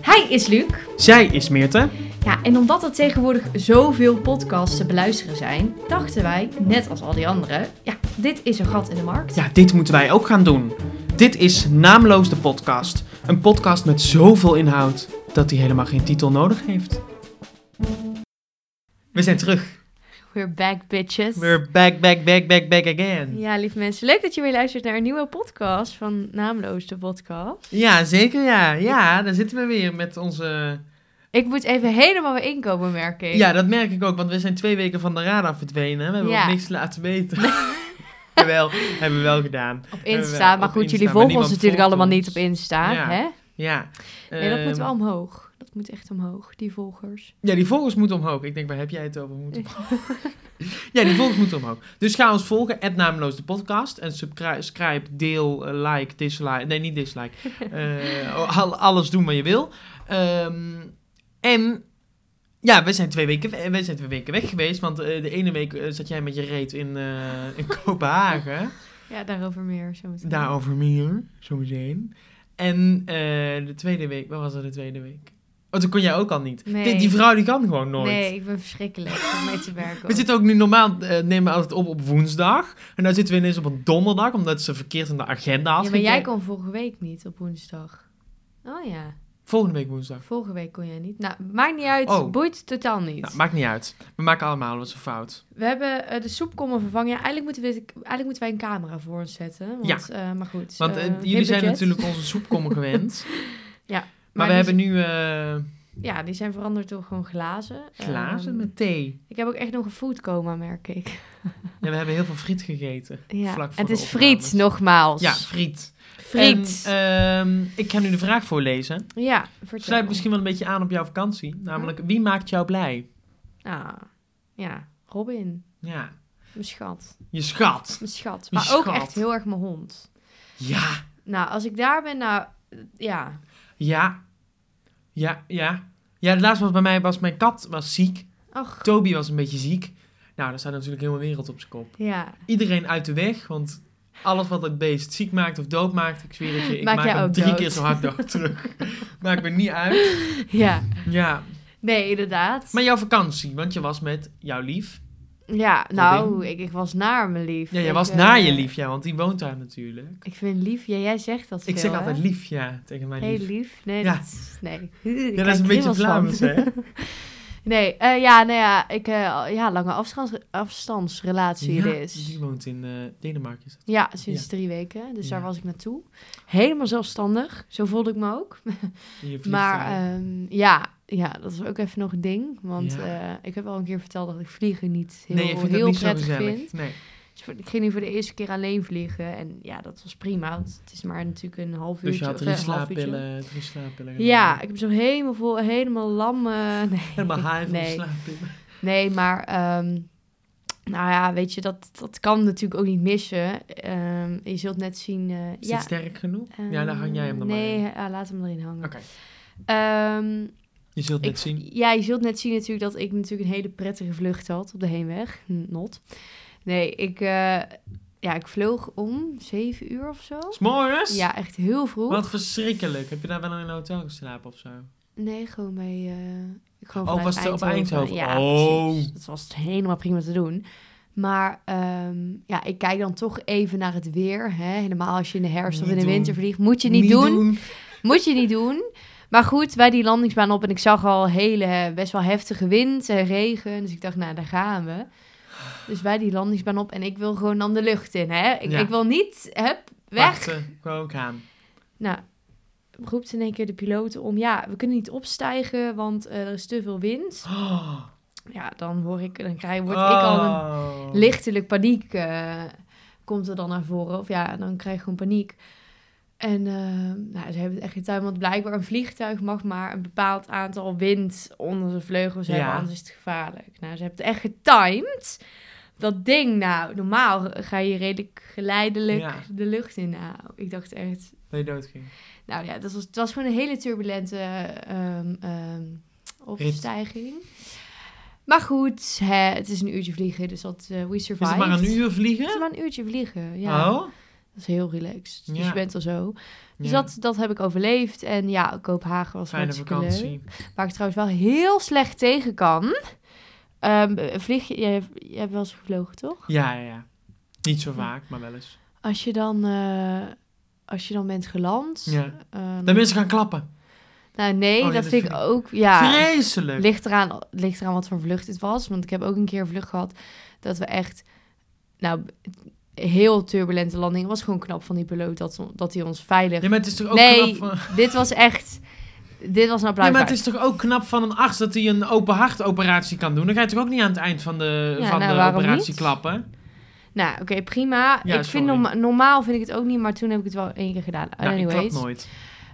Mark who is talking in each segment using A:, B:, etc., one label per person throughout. A: Hij is Luc.
B: Zij is Meerte.
A: Ja, en omdat er tegenwoordig zoveel podcasts te beluisteren zijn, dachten wij, net als al die anderen, ja, dit is een gat in de markt.
B: Ja, dit moeten wij ook gaan doen. Dit is Naamloos de Podcast. Een podcast met zoveel inhoud dat hij helemaal geen titel nodig heeft. We zijn terug.
A: We're back, bitches.
B: We're back, back, back, back, back again.
A: Ja, lieve mensen, leuk dat je weer luistert naar een nieuwe podcast van Naamloos, de podcast.
B: Ja, zeker ja. Ja, daar zitten we weer met onze...
A: Ik moet even helemaal weer inkomen, merk ik.
B: Ja, dat merk ik ook, want we zijn twee weken van de radar verdwenen. We hebben
A: Ja.
B: ook niks laten weten. Jawel, hebben we wel gedaan.
A: Op
B: Eh,
A: Insta,
B: wel,
A: maar goed,
B: op
A: jullie
B: Insta, maar
A: volgen ons
B: niemand
A: natuurlijk
B: volgt
A: allemaal
B: ons.
A: niet op Insta,
B: Ja.
A: hè?
B: Ja.
A: Nee, dat moet
B: Ehm,
A: wel omhoog. Dat moet echt omhoog, die volgers.
B: Ja, die volgers moeten omhoog. Ik denk, waar heb jij het over? Moeten omhoog. ja, die volgers moeten omhoog. Dus ga ons volgen, at nameloos de podcast. En subscribe, deel, eh, like, dislike. Nee, niet dislike. Eh, al- alles doen wat je wil. Ehm, en ja, we zijn twee weken, we- we zijn twee weken weg geweest. Want eh, de ene week eh, zat jij met je reet in, eh, in Kopenhagen.
A: Ja, daarover meer zo meteen.
B: Daarover meer, zometeen. En eh, de tweede week, wat was er de tweede week? Oh, toen kon jij ook al niet.
A: Nee.
B: Die, die vrouw die kan gewoon nooit.
A: Nee, ik ben verschrikkelijk om mee te werken.
B: We zitten ook nu normaal, eh, nemen we altijd op op woensdag. En nu zitten we ineens op een donderdag, omdat ze verkeerd in de agenda had
A: Ja, maar jij
B: gekeken.
A: kon vorige week niet op woensdag. Oh ja,
B: Volgende week woensdag.
A: vorige week kon jij niet. Nou, maakt niet uit.
B: Oh.
A: Boeit totaal niet.
B: Nou, maakt niet uit. We maken allemaal eens een fout.
A: We hebben eh, de soepkommen vervangen. Ja, eigenlijk moeten, we, dit- eigenlijk moeten wij een camera voor ons zetten. Want,
B: Ja.
A: eh, maar goed.
B: Want eh,
A: eh, geen
B: jullie zijn
A: budget.
B: natuurlijk onze soepkommen gewend. Maar,
A: Maar, dus-
B: we
A: die-
B: hebben nu eh,
A: Ja, die zijn veranderd door gewoon glazen.
B: glazen
A: Ehm,
B: met thee.
A: Ik heb ook echt nog een foodcoma, merk ik.
B: En we hebben heel veel friet gegeten.
A: Ja.
B: Vlak voor
A: en het
B: de
A: is
B: opnames.
A: friet, nogmaals.
B: Ja, friet.
A: Friet.
B: En, ehm, ik ga nu de vraag voorlezen.
A: ja, vertel.
B: Sluit misschien wel een beetje aan op jouw vakantie. Namelijk, wie maakt jou blij?
A: Ah, ja, Robin.
B: Ja,
A: Mijn schat.
B: je schat.
A: Mijn schat.
B: Mijn
A: Maar ook
B: schat.
A: echt heel erg mijn hond.
B: Ja.
A: Nou, als ik daar ben, nou, ja.
B: Ja. Ja, ja. Ja, het laatste was bij mij was mijn kat was ziek.
A: Ach,
B: Toby was een beetje ziek. Nou, daar staat natuurlijk helemaal wereld op zijn kop.
A: ja.
B: Iedereen uit de weg, want alles wat het beest ziek maakt of dood maakt, ik zweer het je, ik
A: Maak
B: maak,
A: jij
B: hem
A: ook
B: drie
A: dood.
B: keer zo hard dood terug. maakt me niet uit.
A: Ja.
B: Ja.
A: Nee, inderdaad.
B: Maar jouw vakantie, want je was met jouw lief.
A: ja, nou, ik, ik was naar mijn lief.
B: Ja, jij
A: Ik,
B: was
A: eh,
B: naar je lief, ja, want die woont daar natuurlijk.
A: Ik vind lief, ja, jij zegt dat
B: Ik
A: veel,
B: zeg
A: hè?
B: altijd lief, ja, tegen mijn
A: Heel
B: lief.
A: lief. Nee,
B: Ja.
A: dat is, nee.
B: Ja, dat is een beetje Vlaams, hè?
A: Nee, eh, ja, nou ja, ik, eh, ja, lange afstands, afstandsrelatie
B: Ja,
A: dus.
B: die woont in eh, Denemarken, is dat?
A: Ja, sinds
B: Ja.
A: drie weken. Dus daar
B: Ja.
A: was ik naartoe. Helemaal zelfstandig. Zo voelde ik me ook.
B: In je
A: Maar
B: vliegtuig.
A: ehm, ja, ja, dat is ook even nog een ding. Want
B: Ja.
A: eh, ik heb al een keer verteld dat ik vliegen niet heel,
B: nee, je vindt
A: heel
B: dat niet zo
A: prettig
B: gezellig.
A: vind.
B: Nee.
A: Dus voor- ik ging nu voor de eerste keer alleen vliegen. En ja, dat was prima. Want het is maar natuurlijk een half uurtje.
B: Dus je had
A: of,
B: drie
A: eh, een half uurtje.
B: slaappillen, drie slaappillen. genomen.
A: Ja, ik heb zo helemaal vol, helemaal lam. eh, nee,
B: Helemaal high van de
A: nee,
B: slaappillen.
A: nee, maar ehm, nou ja, weet je, dat, dat kan natuurlijk ook niet missen. Ehm, je zult net zien. eh,
B: Is
A: ja,
B: het sterk genoeg? ja, dan hang jij hem
A: ehm,
B: dan maar
A: Nee,
B: in.
A: eh, laat hem erin hangen.
B: Oké,
A: Ehm,
B: je zult
A: Ik-
B: het zien.
A: Ja, je zult net zien natuurlijk dat ik natuurlijk een hele prettige vlucht had op de heenweg. Hm, Not. Nee, ik, eh, ja, ik vloog om zeven uur of zo.
B: S'morgens?
A: Ja, echt heel vroeg.
B: Wat verschrikkelijk. Heb je daar wel in een hotel geslapen of zo?
A: Nee, gewoon bij... eh, ik gewoon
B: Oh,
A: vanuit
B: was het op Eindhoven?
A: Ja,
B: Oh.
A: precies. Dat was helemaal prima te doen. Maar ehm, ja, ik kijk dan toch even naar het weer. Hè? Helemaal als je in de herfst of
B: Niet
A: in de
B: doen.
A: winter vliegt. Moet je niet, doen. Moet je niet doen. Maar goed, wij die landingsbaan op en ik zag al hele, eh, best wel heftige wind en regen. Dus ik dacht, nou, daar gaan we. Dus wij die landingsbaan op en ik wil gewoon dan de lucht in, hè. Ik,
B: Ja.
A: ik wil niet, hup, weg.
B: Wachten, gewoon gaan.
A: Nou, roept in één keer de piloot om, ja, we kunnen niet opstijgen, want eh, er is te veel wind.
B: Oh,
A: Ja, dan hoor ik, dan krijg, word ik al een
B: Ehm.
A: lichtelijk paniek eh, komt er dan naar voren. Of ja, dan krijg je gewoon paniek. En eh, nou, ze hebben het echt geen tuin, want blijkbaar een vliegtuig mag maar een bepaald aantal wind onder zijn vleugels hebben,
B: Ja.
A: anders is het gevaarlijk. Nou, ze hebben het echt getimed. Dat ding, nou, normaal ga je redelijk geleidelijk
B: Ja.
A: de lucht in. Nou, ik dacht echt,
B: Dat je doodging.
A: nou ja, dat was, het was gewoon een hele turbulente ehm, ehm, opstijging. Maar goed, hè, het is een uurtje vliegen, dus dat eh, we survived.
B: Is het maar een uur
A: Het is
B: vliegen?
A: maar een uurtje vliegen, ja.
B: Oh?
A: Dat is heel relaxed. Dus
B: Ja.
A: je bent al zo. Dus
B: Ja.
A: dat, dat heb ik overleefd. En ja, Kopenhagen was
B: Fijne
A: hartstikke leuk.
B: vakantie.
A: Waar ik trouwens wel heel slecht tegen kan. Ehm vlieg je, je, je hebt wel eens gevlogen, toch?
B: Ja, ja, ja. Niet zo vaak, maar wel eens.
A: Als je dan, eh, als je dan bent geland.
B: Ja.
A: ehm,
B: Dat mensen gaan klappen.
A: nou nee,
B: Oh, ja,
A: dat
B: dat
A: vind ik
B: vind ik
A: ook. Ja,
B: Vreselijk.
A: ligt eraan, ligt eraan wat voor vlucht het was. Want ik heb ook een keer een vlucht gehad dat we echt... Nou, heel turbulente landing. Het was gewoon knap van die piloot dat, ze- dat hij ons veilig...
B: Nee, maar het is toch ook
A: Nee,
B: knap van...
A: dit was echt... Dit was een applaus
B: Nee, maar het
A: waard.
B: is toch ook knap van een arts dat hij een open hartoperatie kan doen. Dan ga je toch ook niet aan het eind van de,
A: Ja,
B: van
A: nou,
B: de
A: waarom
B: operatie
A: niet?
B: klappen?
A: Nou, oké, prima.
B: Ja,
A: ik vind
B: sorry.
A: norma- normaal vind ik het ook niet, maar toen heb ik het wel één keer gedaan.
B: Nou, ik klap
A: Anyways.
B: nooit.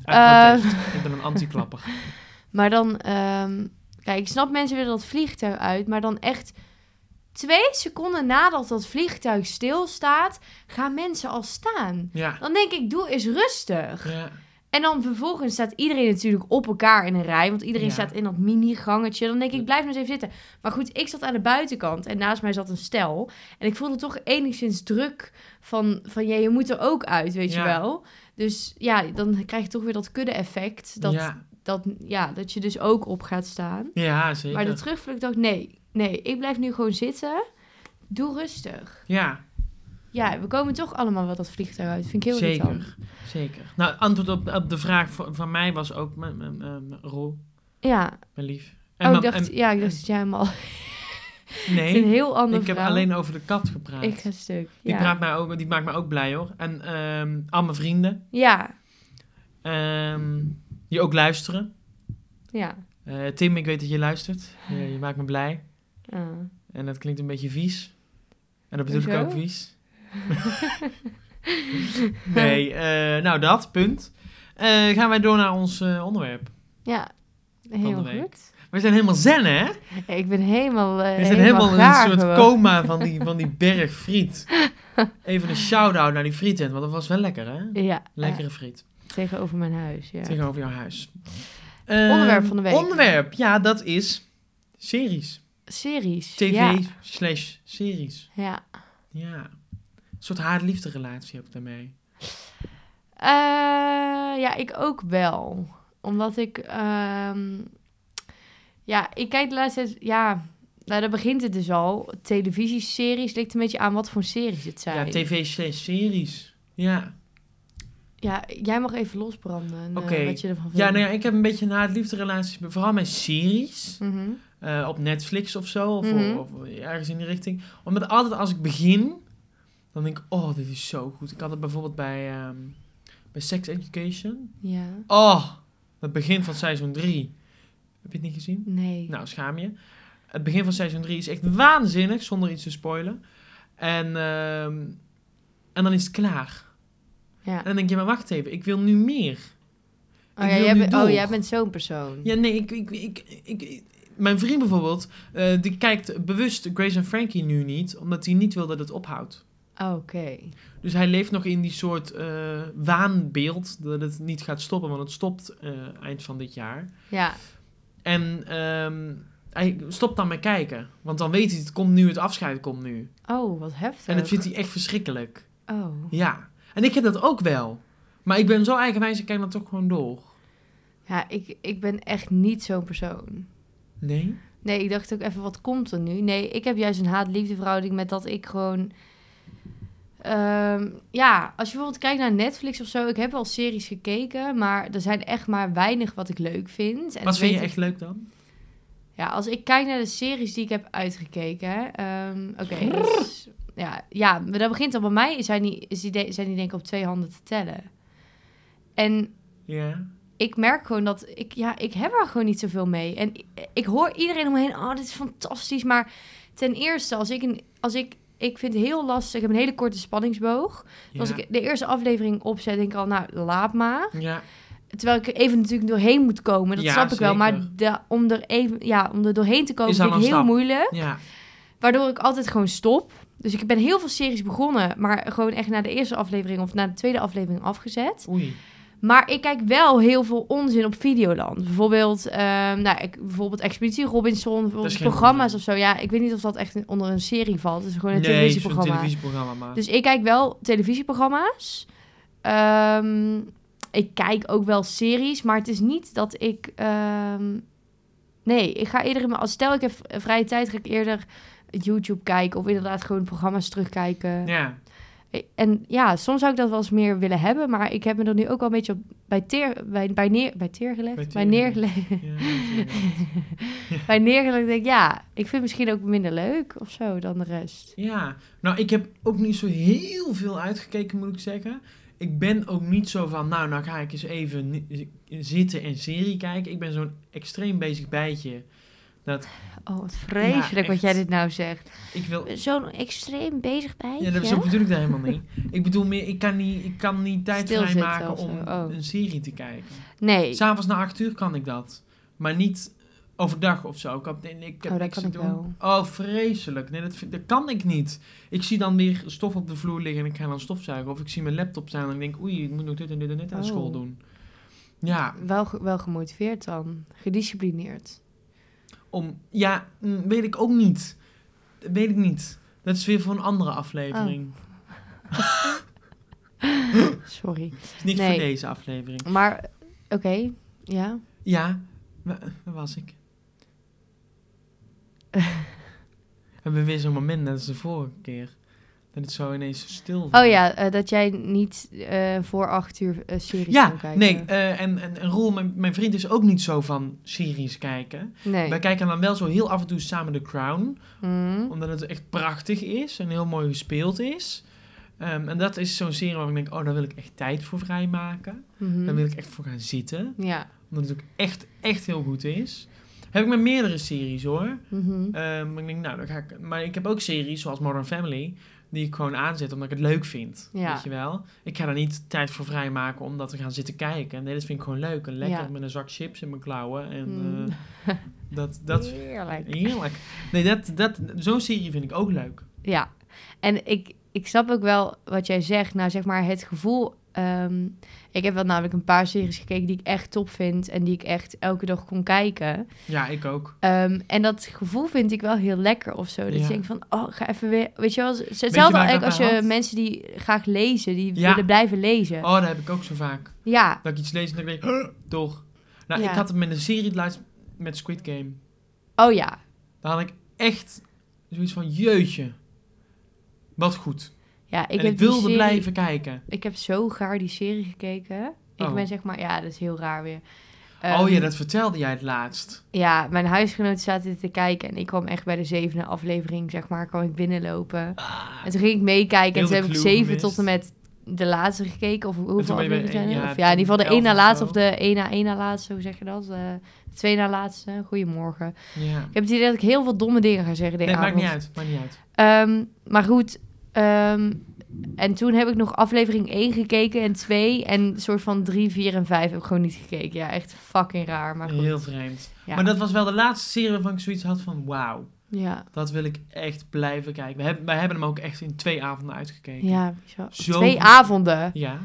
A: Eh,
B: Uit protest. Ik ben een antiklapper.
A: Maar dan... ehm, kijk, ik snap mensen willen dat vliegtuig uit, maar dan echt... Twee seconden nadat dat vliegtuig stilstaat, gaan mensen al staan.
B: Ja.
A: Dan denk ik, doe eens rustig.
B: ja.
A: En dan vervolgens staat iedereen natuurlijk op elkaar in een rij. Want iedereen
B: Ja.
A: staat in dat mini-gangetje. Dan denk ik, blijf nog eens even zitten. Maar goed, ik zat aan de buitenkant en naast mij zat een stel. En ik voelde toch enigszins druk van, van ja, je moet er ook uit, weet je
B: Ja.
A: wel. Dus ja, dan krijg je toch weer dat kudde-effect. Dat,
B: ja.
A: Dat, ja, dat je dus ook op gaat staan.
B: Ja, zeker.
A: Maar de terugvlucht dacht ik, nee, nee, ik blijf nu gewoon zitten. Doe rustig.
B: Ja,
A: Ja, we komen toch allemaal wel dat vliegtuig uit. Vind ik heel
B: Zeker.
A: irritant.
B: zeker. Nou, antwoord op, op de vraag van, van mij was ook mijn, mijn, mijn- mijn rol,
A: Ja,
B: mijn lief.
A: oh, ik
B: mijn-
A: dacht, ja, ik dacht dat jij hem al
B: en-
A: Het is een
B: nee,
A: heel ander
B: ik heb
A: verhaal.
B: alleen over de kat gepraat.
A: Ik ga stuk.
B: die,
A: Ja.
B: praat mij ook, die maakt mij ook blij hoor. En ehm, al mijn vrienden,
A: ja,
B: ehm, die ook luisteren.
A: ja.
B: Eh, Tim, ik weet dat je luistert. Eh, Je, je maakt me blij.
A: Ah.
B: En dat klinkt een beetje vies. En dat bedoel ik
A: Hoezo?
B: ook vies. nee, eh, nou dat, punt. Eh, gaan wij door naar ons eh, onderwerp.
A: Ja,
B: Van
A: heel
B: de week.
A: goed.
B: We zijn helemaal zen, hè?
A: Eh, Ik ben helemaal. eh
B: We zijn helemaal in een soort coma van die, van die berg friet. Even een shout-out naar die frietent, want dat was wel lekker, hè?
A: Ja,
B: Lekkere friet.
A: eh, tegenover mijn huis. Ja.
B: Tegenover jouw huis.
A: Onderwerp van de
B: Ehm,
A: week.
B: Onderwerp, ja, dat is series.
A: Series.
B: TV
A: Ja.
B: slash series.
A: ja.
B: Ja. Een soort haat-liefde relatie heb ik daarmee.
A: Eh, ja, ik ook wel. Omdat ik. ehm, ja, ik kijk de laatste tijd. Ja. Nou, daar begint het dus al. Televisieseries ligt een beetje aan wat voor series het zijn.
B: Ja, tv slash series. Ja.
A: Ja, jij mag even losbranden. eh,
B: Oké.
A: Wat je ervan vindt.
B: Ja, nou ja, ik heb een beetje een haat-liefde relatie. met- Vooral met series.
A: Mhm.
B: eh, op Netflix of zo. Of,
A: Mhm.
B: of, of ergens in die richting. Omdat altijd als ik begin, dan denk ik, oh, dit is zo goed. Ik had het bijvoorbeeld bij, ehm, bij Sex Education.
A: Ja.
B: Oh, het begin van seizoen 3. Heb je het niet gezien?
A: Nee.
B: Nou, schaam je. Het begin van seizoen 3 is echt waanzinnig, zonder iets te spoilen. En, ehm, en dan is het klaar.
A: ja.
B: En dan denk je, maar wacht even, ik wil nu meer.
A: Oh,
B: Ik
A: ja,
B: wil
A: jij
B: nu
A: bent- oh,
B: door.
A: jij bent zo'n persoon.
B: Ja, nee, ik... ik, ik, ik, ik- mijn vriend bijvoorbeeld, eh, die kijkt bewust Grace en Frankie nu niet, omdat hij niet wil dat het ophoudt.
A: Oh, Oké.
B: Dus hij leeft nog in die soort eh, waanbeeld dat het niet gaat stoppen, want het stopt eh, eind van dit jaar.
A: Ja,
B: En ehm, hij stopt dan met kijken, want dan weet hij, het komt nu, het afscheid komt nu.
A: oh, wat heftig.
B: En dat vindt hij echt verschrikkelijk.
A: Oh.
B: Ja. En ik heb dat ook wel. Maar ik ben zo eigenwijs, ik kijk dan toch gewoon door.
A: Ja, ik, ik ben echt niet zo'n persoon.
B: Nee?
A: Nee, ik dacht ook even, wat komt er nu? Nee, ik heb juist een haat-liefde verhouding met dat ik gewoon... Ehm, ja, als je bijvoorbeeld kijkt naar Netflix of zo... Ik heb wel series gekeken, maar er zijn echt maar weinig wat ik leuk vind. En
B: Wat
A: dat
B: vind je
A: weet ik-
B: echt leuk dan?
A: Ja, als ik kijk naar de series die ik heb uitgekeken. ehm, Oké. dus- ja, ja, maar dat begint al bij mij. Zijn die, is die de- zijn die denk ik op twee handen te tellen. En
B: Ja.
A: ik merk gewoon dat ik, ja, ik heb er gewoon niet zoveel mee. En i- ik hoor iedereen om me heen, oh, dit is fantastisch. Maar ten eerste, als ik, een, als ik, ik vind het heel lastig, ik heb een hele korte spanningsboog. Dus
B: Ja.
A: Als ik de eerste aflevering opzet, denk ik al, nou, laat maar.
B: ja.
A: Terwijl ik er even natuurlijk doorheen moet komen, dat
B: Ja,
A: snap ik wel. Maar
B: zeker.
A: de, om, er even, ja, om er doorheen te komen
B: Is
A: vind
B: al
A: ik heel
B: een stap.
A: moeilijk.
B: Ja.
A: Waardoor ik altijd gewoon stop. Dus ik ben heel veel series begonnen, maar gewoon echt na de eerste aflevering of na de tweede aflevering afgezet.
B: Oei.
A: Maar ik kijk wel heel veel onzin op Videoland. Bijvoorbeeld, ehm, nou, ik, bijvoorbeeld Expeditie Robinson, bijvoorbeeld
B: geen
A: programma's
B: onzin.
A: of zo. Ja, ik weet niet of dat echt een- onder een serie valt. Het is gewoon een
B: nee, het is een
A: televisieprogramma.
B: televisieprogramma. Maar.
A: Dus ik kijk wel televisieprogramma's. Ehm, ik kijk ook wel series, maar het is niet dat ik. ehm, nee, ik ga eerder in mijn. Als stel ik heb v- vrije tijd, ga ik eerder YouTube kijken of inderdaad gewoon programma's terugkijken.
B: ja.
A: Ik- En ja, soms zou ik dat wel eens meer willen hebben, maar ik heb me er nu ook al een beetje op, bij teer bij, bij neer bij teer gelegd,
B: Bij
A: bij,
B: teer
A: neergelegd,
B: Ja, natuurlijk.
A: bij neergelegd. Denk ik, ja, ik vind het misschien ook minder leuk of zo dan de rest.
B: Ja, nou ik heb ook niet zo heel veel uitgekeken moet ik zeggen. Ik ben ook niet zo van, nou nou ga ik eens even ni- zitten en serie kijken. Ik ben zo'n extreem bezig bijtje.
A: Oh, wat vreselijk wat
B: echt.
A: jij dit nou zegt.
B: Ik wil...
A: Zo'n extreem bezig bij.
B: Ja, dat, zo bedoel ik dat helemaal niet. Ik bedoel meer, ik kan niet, ik kan niet tijd
A: Stilzitten
B: vrijmaken
A: of zo,
B: om
A: oh.
B: een serie te kijken.
A: Nee.
B: S'avonds na acht uur kan ik dat. Maar niet overdag of zo. Ik heb, nee, ik heb
A: Oh, dat
B: niks
A: kan
B: te
A: ik
B: doen. Oh, vreselijk. Nee, dat, vind- dat kan ik niet. Ik zie dan weer stof op de vloer liggen en ik ga dan stofzuigen. Of ik zie mijn laptop staan en ik denk, oei, ik moet nog dit en dit en dit aan
A: Oh.
B: school doen. Ja,
A: Wel, ge- wel gemotiveerd dan. Gedisciplineerd.
B: om, ja, mm, weet ik ook niet. Dat Weet ik niet. Dat is weer voor een andere aflevering.
A: Oh. Sorry.
B: Het is niet
A: Nee.
B: voor deze aflevering.
A: Maar, oké. Ja.
B: Ja, wa- waar was ik? Hebben we weer zo'n moment net als de vorige keer. Dat het zo ineens zo stil
A: Oh
B: valt.
A: ja, eh, dat jij niet eh, voor acht uur eh, series
B: Ja,
A: kan kijken.
B: nee. eh, en, en, en Roel, mijn, mijn vriend, is ook niet zo van series kijken.
A: nee.
B: Wij kijken dan wel zo heel af en toe samen The Crown.
A: Hmm.
B: Omdat het echt prachtig is en heel mooi gespeeld is. Ehm, en dat is zo'n serie waar ik denk, oh, daar wil ik echt tijd voor vrijmaken.
A: Mhm.
B: Daar wil ik echt voor gaan zitten.
A: Ja.
B: Omdat het ook echt, echt heel goed is. Heb ik met meerdere series hoor.
A: Mhm.
B: Ehm, ik denk, nou, dan ga ik. Maar ik heb ook series zoals Modern Family. Die ik gewoon aanzet omdat ik het leuk vind.
A: Ja.
B: Weet je wel? Ik ga er niet tijd voor vrijmaken om dat te gaan zitten kijken. Nee, dat vind ik gewoon leuk. En lekker
A: Ja.
B: met een zak chips in mijn klauwen. En
A: Mm.
B: eh, dat, dat
A: Heerlijk.
B: heerlijk. Nee, dat, dat, zo'n serie vind ik ook leuk.
A: Ja, en ik, ik snap ook wel wat jij zegt. Nou, zeg maar het gevoel. ehm, ik heb wel namelijk een paar series gekeken die ik echt top vind en die ik echt elke dag kon kijken.
B: Ja, ik ook.
A: Ehm, en dat gevoel vind ik wel heel lekker of zo. Dat
B: Ja.
A: je denkt van, oh, ga even weer... Weet je wel, het is
B: waar ik
A: hetzelfde eigenlijk
B: dat
A: als
B: bij
A: je
B: had?
A: mensen die graag lezen, die
B: Ja.
A: willen blijven lezen.
B: Oh, dat heb ik ook zo vaak.
A: Ja,
B: Dat ik iets lees en dan denk ik, "Huh, toch. Nou,
A: Ja.
B: ik had het met een serie het laatst met Squid Game.
A: oh ja.
B: Daar had ik echt zoiets van, jeetje. Wat goed.
A: Ja, ik
B: Ik
A: heb
B: en ik
A: die
B: wilde
A: serie-
B: blijven kijken.
A: Ik heb zo gaar die serie gekeken.
B: Oh.
A: Ik ben zeg maar, ja, dat is heel raar weer.
B: oh ja,
A: Ehm,
B: dat vertelde jij het laatst.
A: Ja, mijn huisgenoten zaten dit te kijken en ik kwam echt bij de zevende aflevering, zeg maar, kwam ik binnenlopen. En toen ging ik meekijken en
B: Heel
A: toen
B: de
A: heb ik
B: clue
A: zeven
B: gemist.
A: tot en met de laatste gekeken. Of hoeveel
B: ben je bij
A: afleveringen zijn
B: één-
A: er?
B: ja,
A: Of ja, in ieder geval de één na
B: elf of
A: laatste of
B: zo.
A: de één na één na laatste, hoe zeg je dat? Eh, De twee na laatste, goedemorgen.
B: Ja.
A: Ik heb het idee dat ik heel veel domme dingen ga zeggen deze
B: Nee, maakt
A: avond.
B: niet uit, maakt niet uit.
A: Ehm, maar goed, ehm, en toen heb ik nog aflevering 1 gekeken en 2 en soort van 3, 4 en 5 heb ik gewoon niet gekeken. Ja, echt fucking raar, maar goed.
B: Heel vreemd.
A: Ja.
B: Maar dat was wel de laatste serie waarvan ik zoiets had van, wauw,
A: ja.
B: dat wil ik echt blijven kijken. We hebben, wij hebben hem ook echt in twee avonden uitgekeken.
A: Ja, bizar.
B: Zo
A: Twee
B: goed.
A: avonden.
B: Ja,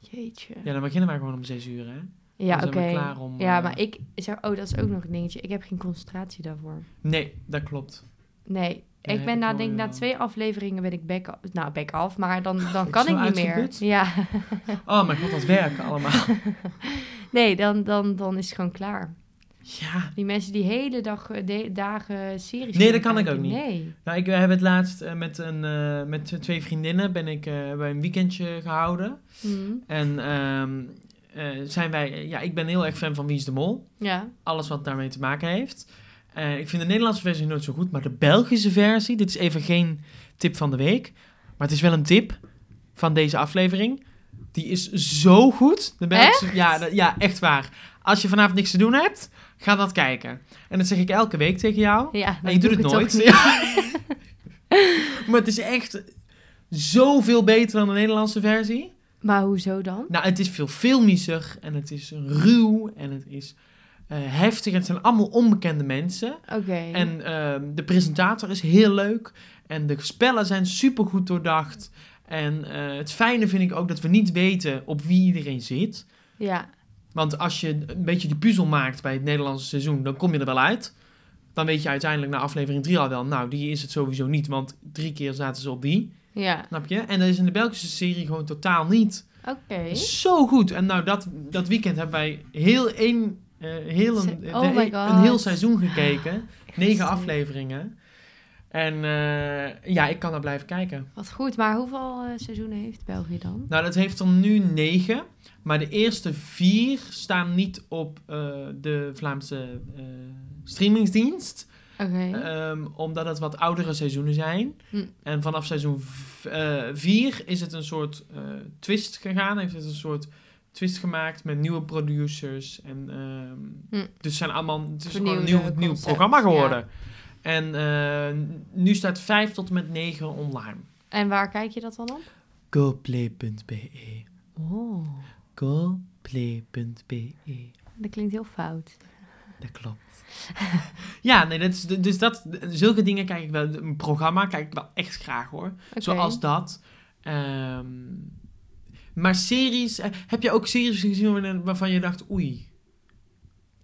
A: Jeetje.
B: Ja, dan beginnen wij gewoon om zes uur, hè?
A: Ja,
B: Dan
A: oké.
B: zijn we klaar om...
A: Ja,
B: eh,
A: maar ik zeg, oh, dat is ook nog een dingetje. Ik heb geen concentratie daarvoor.
B: Nee, dat klopt.
A: Nee,
B: Nee,
A: ik ben
B: ik
A: na,
B: hoor
A: denk,
B: je
A: na
B: wel.
A: twee afleveringen ben ik back af. Nou, back af, maar dan, dan kan
B: Zo
A: ik niet meer.
B: uitgeput?
A: Ja,
B: Oh mijn god, dat werken allemaal.
A: nee, dan, dan, dan is het gewoon klaar.
B: Ja.
A: Die mensen die hele dag, eh, de, dagen series.
B: Nee,
A: kunnen
B: dat kan ik
A: kijken,
B: ook niet.
A: Nee.
B: Nou, ik heb het laatst eh, met, een, eh, met twee vriendinnen ben ik, eh, bij een weekendje gehouden.
A: Hm,
B: En ehm, eh, zijn wij... Ja, ik ben heel erg fan van Wie is de Mol.
A: Ja.
B: alles wat daarmee te maken heeft. Eh, ik vind de Nederlandse versie nooit zo goed, maar de Belgische versie, dit is even geen tip van de week, maar het is wel een tip van deze aflevering. Die is zo goed. De Belgische, Ja, de- ja, echt waar. Als je vanavond niks te doen hebt, ga dat kijken. En dat zeg ik elke week tegen jou.
A: ja
B: En
A: dan
B: je doet
A: doe
B: het
A: ik toch
B: nooit.
A: niet.
B: maar het is echt zoveel beter dan de Nederlandse versie.
A: Maar hoezo dan?
B: Nou, het is veel filmischer en het is ruw en het is eh, heftig. En het zijn allemaal onbekende mensen.
A: Oké.
B: En ehm, de presentator is heel leuk. En de spellen zijn supergoed doordacht. En eh, het fijne vind ik ook dat we niet weten op wie iedereen zit.
A: Ja.
B: Want als je een beetje die puzzel maakt bij het Nederlandse seizoen, dan kom je er wel uit. Dan weet je uiteindelijk na aflevering 3 al wel, nou, die is het sowieso niet, want drie keer zaten ze op die.
A: Ja.
B: Snap je? En dat is in de Belgische serie gewoon totaal niet.
A: Oké.
B: Zo goed. En nou, dat, dat weekend hebben wij heel één, eh, heel
A: Se-
B: een,
A: oh
B: de-
A: my God. Ah,
B: een heel seizoen gekeken. Negen
A: Christus.
B: afleveringen. En eh, ja, ik kan daar blijven kijken.
A: Wat goed. Maar hoeveel eh, seizoenen heeft België dan?
B: Nou, dat heeft er nu negen. Maar de eerste vier staan niet op eh, de Vlaamse eh, streamingsdienst.
A: Oké.
B: Ehm, omdat het wat oudere seizoenen zijn.
A: Hm.
B: En vanaf seizoen v- eh, vier is het een soort eh, twist gegaan. Heeft het een soort twist gemaakt met nieuwe producers. En, ehm,
A: Hm.
B: Dus het zijn allemaal, het is gewoon een
A: Vernieuwde
B: nieuw, nieuw
A: concept,
B: programma
A: ja.
B: geworden. En eh, nu staat vijf tot en met negen online.
A: En waar kijk je dat dan op?
B: Goplay.be
A: Oh.
B: Goplay.be
A: Dat klinkt heel fout.
B: E. Dat klopt. ja, nee, dat is, dus dat, zulke dingen kijk ik wel. Een programma kijk ik wel echt graag hoor.
A: Oké.
B: Zoals dat. Ehm, maar series, eh, heb je ook series gezien waarin- waarvan je dacht, oei.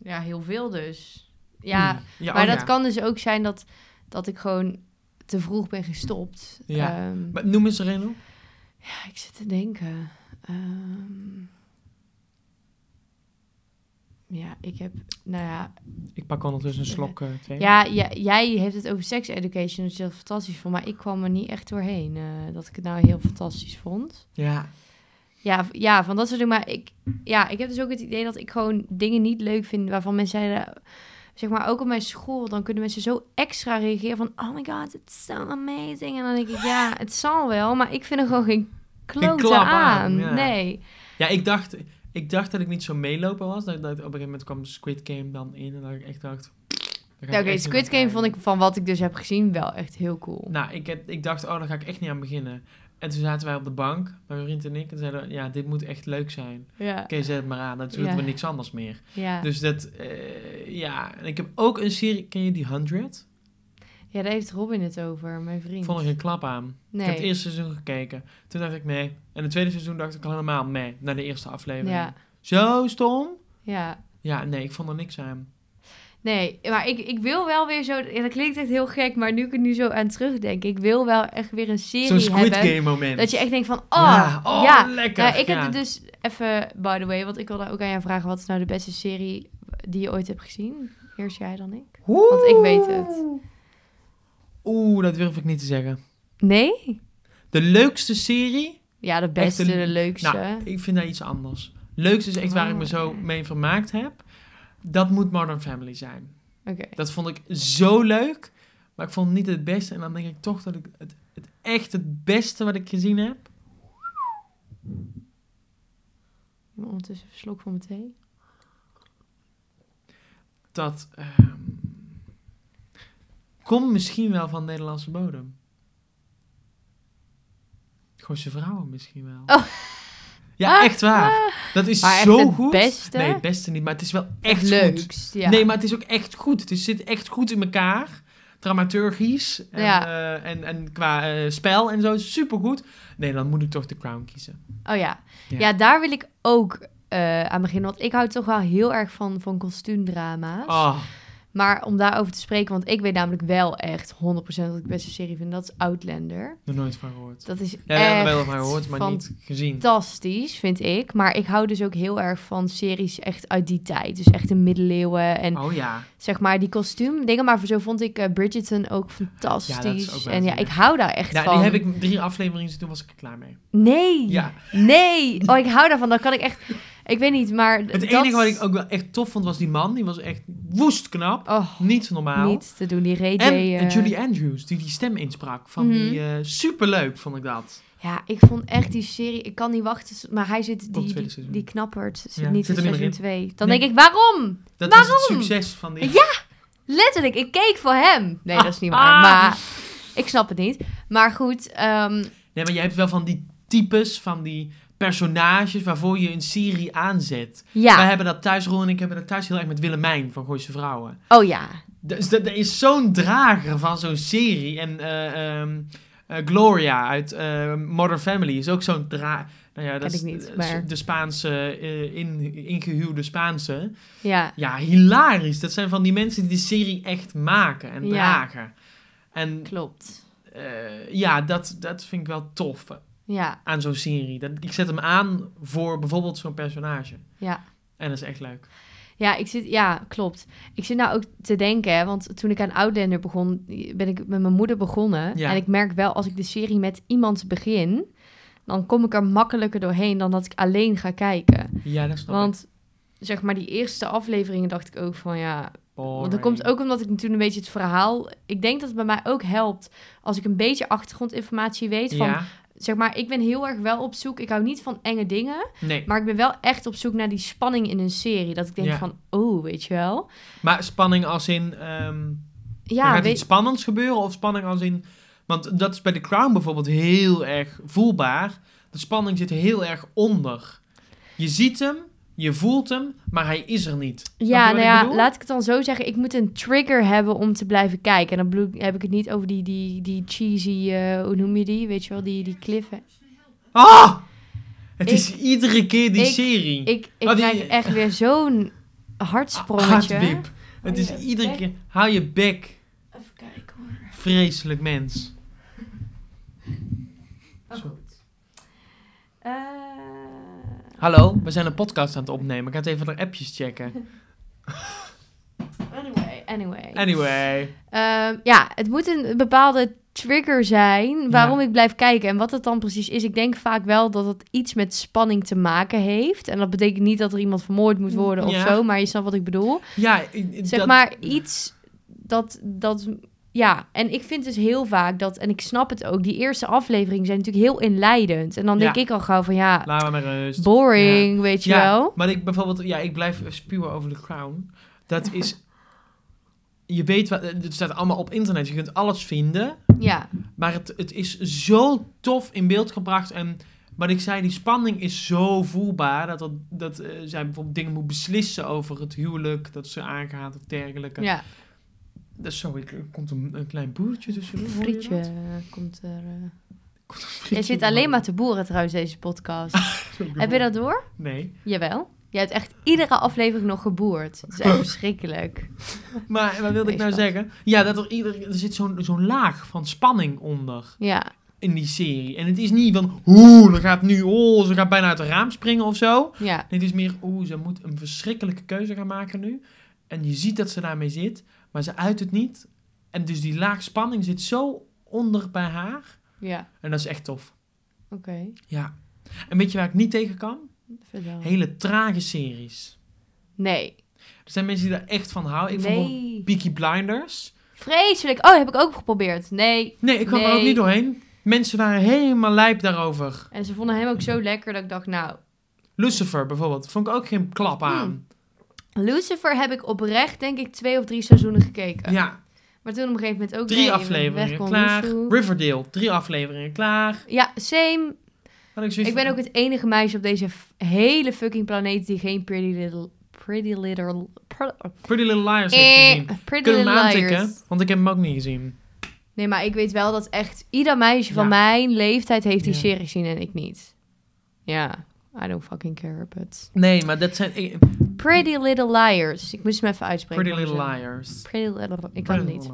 A: Ja, heel veel dus. Ja,
B: oei. ja
A: maar
B: oh
A: dat
B: ja.
A: kan dus ook zijn dat, dat ik gewoon te vroeg ben gestopt.
B: Ja.
A: Ehm,
B: Maar noem eens er een op.
A: ja, ik zit te denken. Ehm, ja, ik heb... Nou ja,
B: Ik pak ondertussen een slok. eh, thee.
A: ja, ja, jij hebt het over sex education, dus dat is heel fantastisch vond. Maar ik kwam er niet echt doorheen eh, dat ik het nou heel fantastisch vond.
B: ja.
A: Ja, v- ja, van dat soort dingen. Maar ik, ja, ik heb dus ook het idee dat ik gewoon dingen niet leuk vind waarvan mensen zeiden, zeg maar ook op mijn school, dan kunnen mensen zo extra reageren van, oh my god, it's so amazing. En dan denk ik, ja, het zal wel, maar ik vind er gewoon geen klote
B: klap
A: aan.
B: aan, ja.
A: Nee.
B: Ja, ik dacht, ik dacht dat ik niet zo meelopen was. Dat, dat op een gegeven moment kwam Squid Game dan in. En dat ik echt dacht... daar ga ik
A: Ja, Oké,
B: echt
A: Squid
B: niet aan
A: Game vond ik
B: kijken.
A: van wat ik dus heb gezien wel echt heel cool.
B: Nou, ik, heb, ik dacht, oh, daar ga ik echt niet aan beginnen. En toen zaten wij op de bank, mijn vriend en ik. En zeiden, ja, dit moet echt leuk zijn. Oké,
A: Ja,
B: zet het maar aan. Dan doen
A: Ja.
B: we niks anders meer.
A: ja.
B: Dus dat, eh, ja. En ik heb ook een serie, ken je die 100?
A: ja, daar heeft Robin het over, mijn vriend.
B: Vond ik een klap aan. Ik heb het
A: nee.
B: eerste seizoen gekeken. Toen dacht ik, nee. En het tweede seizoen dacht ik al helemaal, nee. Naar de eerste aflevering.
A: Ja,
B: Zo stom.
A: ja.
B: Ja, nee, ik vond er niks aan.
A: Nee, maar ik, ik wil wel weer zo... Ja, dat klinkt echt heel gek, maar nu ik er nu zo aan terugdenk... Ik wil wel echt weer een serie
B: Zo'n Squid
A: hebben.
B: Game moment.
A: Dat je echt denkt van... Oh,
B: ja,
A: ja.
B: oh, lekker.
A: Nou, ik heb
B: ja.
A: het dus even... By the way, want ik wilde ook aan jou vragen... Wat is nou de beste serie die je ooit hebt gezien? Eerst jij dan ik. want ik weet het.
B: Oeh, dat durf ik niet te zeggen.
A: Nee?
B: De leukste serie?
A: Ja, de
B: Echt
A: beste,
B: een-
A: de leukste.
B: Nou, ik vind dat iets anders. Leukste is echt waar ik me zo
A: Oh.
B: mee vermaakt heb. Dat moet Modern Family zijn.
A: Oké.
B: Dat vond ik zo leuk. Maar ik vond het niet het beste. En dan denk ik toch dat ik het, het echt het beste wat ik gezien heb.
A: Ik neem Ondertussen even een slok van mijn thee.
B: Dat ehm, komt misschien wel van Nederlandse bodem. Gooise vrouwen misschien wel.
A: Oh. Ah,
B: Ja, echt waar. Dat is
A: Maar echt
B: zo
A: het
B: goed.
A: beste?
B: Nee, het beste niet. Maar het is wel echt
A: Het
B: leuk.
A: leukst, ja.
B: Nee, maar het is ook echt goed. Het is- zit echt goed in elkaar. Dramaturgisch. En,
A: Ja.
B: eh, en, en qua eh, spel en zo. Supergoed. Nee, dan moet ik toch de Crown kiezen.
A: Oh ja.
B: Ja.
A: Ja, daar wil ik ook eh, aan beginnen. Want ik hou toch wel heel erg van, van kostuumdrama's.
B: Oh,
A: Maar om daarover te spreken, want ik weet namelijk wel echt 100% wat ik de beste serie vind. Dat is Outlander.
B: nog nooit van gehoord.
A: Dat is
B: Ja, we hebben er wel
A: echt
B: van gehoord, maar niet gezien.
A: fantastisch, vind ik. Maar ik hou dus ook heel erg van series echt uit die tijd. Dus echt de middeleeuwen en
B: Oh ja.
A: zeg maar die kostuumdingen. Maar zo vond ik eh, Bridgerton ook
B: Ja, dat
A: fantastisch.
B: is ook wel
A: en ja,
B: een-
A: ik hou daar echt
B: Ja,
A: van.
B: die heb ik drie afleveringen gezien, toen was ik er klaar mee.
A: Nee,
B: Ja.
A: nee. Oh, ik hou daarvan. Dan kan ik echt... Ik weet niet, maar...
B: Het
A: dat-
B: enige wat ik ook wel echt tof vond, was die man. Die was echt woest knap.
A: Oh,
B: Niet normaal.
A: niet te doen. Die Ray J...
B: en
A: eh,
B: Julie Andrews, die die stem insprak. Van
A: Mhm.
B: die, eh, superleuk vond ik dat.
A: Ja, ik vond echt die serie... Ik kan niet wachten, maar hij zit...
B: tweede
A: Die, die,
B: seizoen.
A: die knappert zit
B: Ja,
A: niet
B: zit
A: in
B: er niet meer
A: seizoen
B: in.
A: 2. Dan
B: Nee.
A: denk ik, waarom?
B: Dat is het
A: Waarom?
B: succes van die...
A: Letterlijk, ik keek voor hem. Nee, dat is niet waar.
B: Ah.
A: Maar ik snap het niet. Maar goed, ehm,
B: Nee, maar je hebt wel van die types, van die personages waarvoor je een serie aanzet. Wij
A: ja.
B: hebben dat thuis, Roel en ik hebben dat thuis heel erg met Willemijn van Gooise Vrouwen.
A: Oh ja.
B: Dus dat, dat is zo'n drager van zo'n ehm, serie. En eh, ehm, eh, Gloria uit eh, Modern Family is ook zo'n drager. Nou ja, dat
A: Ken
B: is
A: ik niet,
B: de-
A: maar-
B: de Spaanse, eh, in, ingehuwde Spaanse.
A: Ja,
B: Ja, hilarisch. Dat zijn van die mensen die de serie echt maken en
A: Ja.
B: dragen. En
A: klopt.
B: eh, ja, dat, dat vind ik wel tof
A: Ja,
B: aan zo'n serie. Dat, ik zet hem aan voor bijvoorbeeld zo'n personage.
A: ja.
B: En dat is echt leuk.
A: Ja, ik zit, ja, klopt. Ik zit nou ook te denken, hè, want toen ik aan Outlander begon, ben ik met mijn moeder begonnen.
B: Ja.
A: En ik merk wel, als ik de serie met iemand begin, dan kom ik er makkelijker doorheen dan dat ik alleen ga kijken.
B: Ja, dat snap ik.
A: Want zeg maar, die eerste afleveringen dacht ik ook van ja. Want dat
B: Boring.
A: komt ook omdat ik toen een beetje het verhaal. Ik denk dat het bij mij ook helpt als ik een beetje achtergrondinformatie weet. Van
B: Ja,
A: zeg maar, ik ben heel erg wel op zoek. Ik hou niet van enge dingen.
B: nee.
A: Maar ik ben wel echt op zoek naar die spanning in een serie. Dat ik denk
B: Ja.
A: van, oh, weet je wel.
B: Maar spanning als in... ehm, er
A: Ja,
B: gaat
A: weet,
B: iets spannends gebeuren of spanning als in... Want dat is bij The Crown bijvoorbeeld heel erg voelbaar. De spanning zit heel erg onder. Je ziet hem, je voelt hem, maar hij is er niet. Snap je
A: ja
B: wat
A: nou
B: ik
A: ja,
B: bedoel?
A: laat ik het dan zo zeggen. Ik moet een trigger hebben om te blijven kijken. En dan bedoel ik- heb ik het niet over die, die, die cheesy, eh, hoe noem je die? Weet je wel, die, die cliffen.
B: Ah! Het
A: Ik-
B: is iedere keer die
A: ik-
B: serie.
A: Ik, ik
B: Oh, die-
A: krijg echt weer zo'n hartsprongetje.
B: Hartwip. Het is
A: Hou je
B: iedere
A: bek.
B: keer... Hou je bek,
A: Even kijken hoor.
B: vreselijk mens.
A: Oh,
B: Zo.
A: goed. Eh,
B: Hallo, we zijn een podcast aan het opnemen. Ik ga het even naar appjes checken.
A: anyway, anyway.
B: Anyway.
A: Ehm, ja, het moet een bepaalde trigger zijn waarom
B: Ja.
A: ik blijf kijken. En wat het dan precies is, ik denk vaak wel dat het iets met spanning te maken heeft. En dat betekent niet dat er iemand vermoord moet worden of
B: Ja.
A: zo, maar je snapt wat ik bedoel.
B: Ja, i- i-
A: Zeg
B: dat-
A: maar iets dat, dat... Ja, en ik vind dus heel vaak dat, en ik snap het ook, die eerste afleveringen zijn natuurlijk heel inleidend. En dan denk
B: Ja.
A: ik al gauw van ja,
B: Laat me maar rust.
A: boring, weet je
B: ja,
A: wel.
B: Maar ik bijvoorbeeld, ja, ik blijf spuwen over de crown. Dat is. Je weet wat, het staat allemaal op internet. Je kunt alles vinden.
A: Ja,
B: Maar het, het is zo tof in beeld gebracht. En wat ik zei, die spanning is zo voelbaar. Dat, dat, dat eh, zij bijvoorbeeld dingen moet beslissen over het huwelijk. Dat ze aangaat of dergelijke.
A: ja.
B: Dat, sorry, er komt een, een klein boertje tussen.
A: Frietje komt er. eh. Je
B: Je
A: zit alleen maar te boeren trouwens deze podcast. Heb je dat door?
B: Nee.
A: Jawel. Je hebt echt iedere aflevering nog geboerd. Het is echt verschrikkelijk.
B: Maar wat wilde ik nou
A: Nee, schat.
B: zeggen? Ja, dat er, ieder, er zit zo'n zo'n laag van spanning onder
A: Ja.
B: in die serie. En het is niet van, oeh, ze gaat nu, oh, ze gaat bijna uit het raam springen of zo.
A: Ja.
B: Nee, het is meer, oeh, ze moet een verschrikkelijke keuze gaan maken nu. En je ziet dat ze daarmee zit, maar ze uit het niet. En dus die laag spanning zit zo onder bij haar.
A: Ja.
B: En dat is echt tof.
A: Oké.
B: Ja. En weet je waar ik niet tegen kan?
A: Vertel.
B: Hele trage series.
A: Nee.
B: Er Dus zijn mensen die daar echt van houden. Oh, Ik vond bijvoorbeeld
A: nee.
B: Peaky Blinders.
A: Vreselijk. Oh, heb ik ook geprobeerd. Nee.
B: Nee, ik kwam er
A: Nee.
B: ook niet doorheen. Mensen waren helemaal lijp daarover.
A: En ze vonden hem ook zo lekker dat ik dacht, nou...
B: Lucifer bijvoorbeeld, vond ik ook geen klap
A: Hmm.
B: aan.
A: Lucifer heb ik oprecht, denk ik, twee of drie seizoenen gekeken.
B: Ja,
A: Maar toen op een gegeven moment ook...
B: drie
A: nee, weg
B: afleveringen
A: kon
B: klaar.
A: Lucifer.
B: Riverdale, drie afleveringen klaar.
A: Ja, same.
B: Had ik, zoiets
A: Ik ben
B: van,
A: ook het enige meisje op deze f- hele fucking planeet die geen Pretty Little... Pretty Little... pr-
B: Pretty Little Liars heeft
A: eh,
B: gezien.
A: pretty
B: Kunnen we
A: Little
B: hem aantikken,
A: Liars.
B: want ik heb hem ook niet gezien.
A: Nee, maar ik weet wel dat echt ieder meisje van
B: Ja.
A: mijn leeftijd heeft die
B: Ja.
A: serie gezien en ik niet. Ja, I don't fucking care, but...
B: Nee, maar dat zijn eh,
A: Pretty Little Liars. Ik moest hem even uitspreken.
B: Pretty Little
A: waarom ze-
B: Liars.
A: Pretty Little... Ik kan het niet.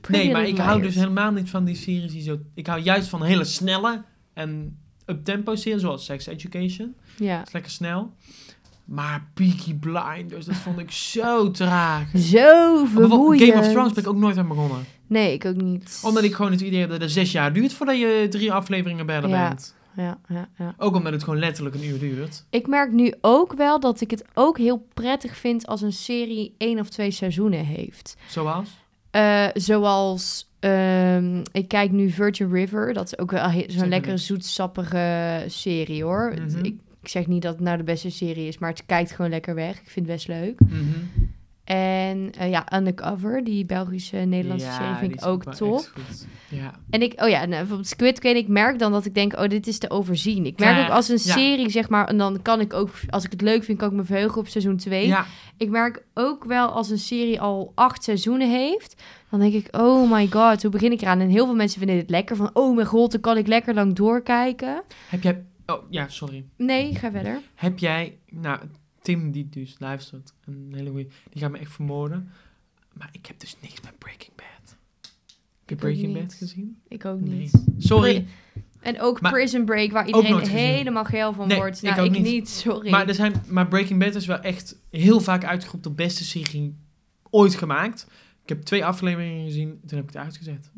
A: Pretty
B: Nee, maar ik
A: Little
B: hou
A: Liars.
B: dus helemaal niet van die series die zo... Ik hou juist van hele snelle en up-tempo series, zoals Sex Education.
A: Ja.
B: is lekker snel. Maar Peaky Blinders, dat vond ik zo traag.
A: Zo vermoeiend.
B: oh, Game of Thrones ben ik ook nooit aan begonnen.
A: Nee, ik ook niet.
B: Omdat ik gewoon het idee heb dat het zes jaar duurt voordat je drie afleveringen verder
A: Ja.
B: bent.
A: Ja, ja, ja.
B: Ook omdat het gewoon letterlijk een uur duurt.
A: Ik merk nu ook wel dat ik het ook heel prettig vind als een serie één of twee seizoenen heeft.
B: Zoals?
A: Eh, zoals, ehm, ik kijk nu Virgin River. Dat is ook wel he-
B: me
A: zo'n lekkere,
B: niks.
A: zoetsappige serie, hoor. Het-
B: Mhm.
A: ik, ik zeg niet dat het nou de beste serie is, maar het kijkt gewoon lekker weg. Ik vind het best leuk. En eh, ja, Undercover, die Belgische Nederlandse serie, vind ik ook tof.
B: top. Ja.
A: En ik, oh ja, en, eh, bijvoorbeeld Squid Game, ik merk dan dat ik denk, oh, dit is te overzien. Ik merk
B: Klaar,
A: ook als een
B: ja.
A: serie, zeg maar, en dan kan ik ook, als ik het leuk vind, kan ik me verheugen op seizoen 2.
B: ja,
A: Ik merk ook wel als een serie al acht seizoenen heeft, dan denk ik, oh my god, hoe begin ik eraan? En heel veel mensen vinden dit lekker, van oh mijn god, dan kan ik lekker lang doorkijken.
B: heb jij Oh, ja, sorry.
A: Nee, ga verder.
B: Heb jij... Nou, Tim die dus luistert, een hele goeie, die gaat me echt vermoorden. Maar ik heb dus niks met Breaking Bad. Heb je
A: ook
B: Breaking
A: niet.
B: Bad gezien?
A: Ik ook
B: Nee.
A: niet.
B: Sorry.
A: Pri- En ook
B: Maar-
A: Prison Break, waar
B: nooit
A: iedereen
B: gezien.
A: helemaal geil van
B: Nee,
A: wordt.
B: ik
A: Nou,
B: ook
A: ik
B: niet.
A: niet. sorry.
B: Maar, dus- er zijn, maar Breaking Bad is wel echt heel vaak uitgeroepen tot beste serie ooit gemaakt. Ik heb twee afleveringen gezien, toen heb ik het uitgezet.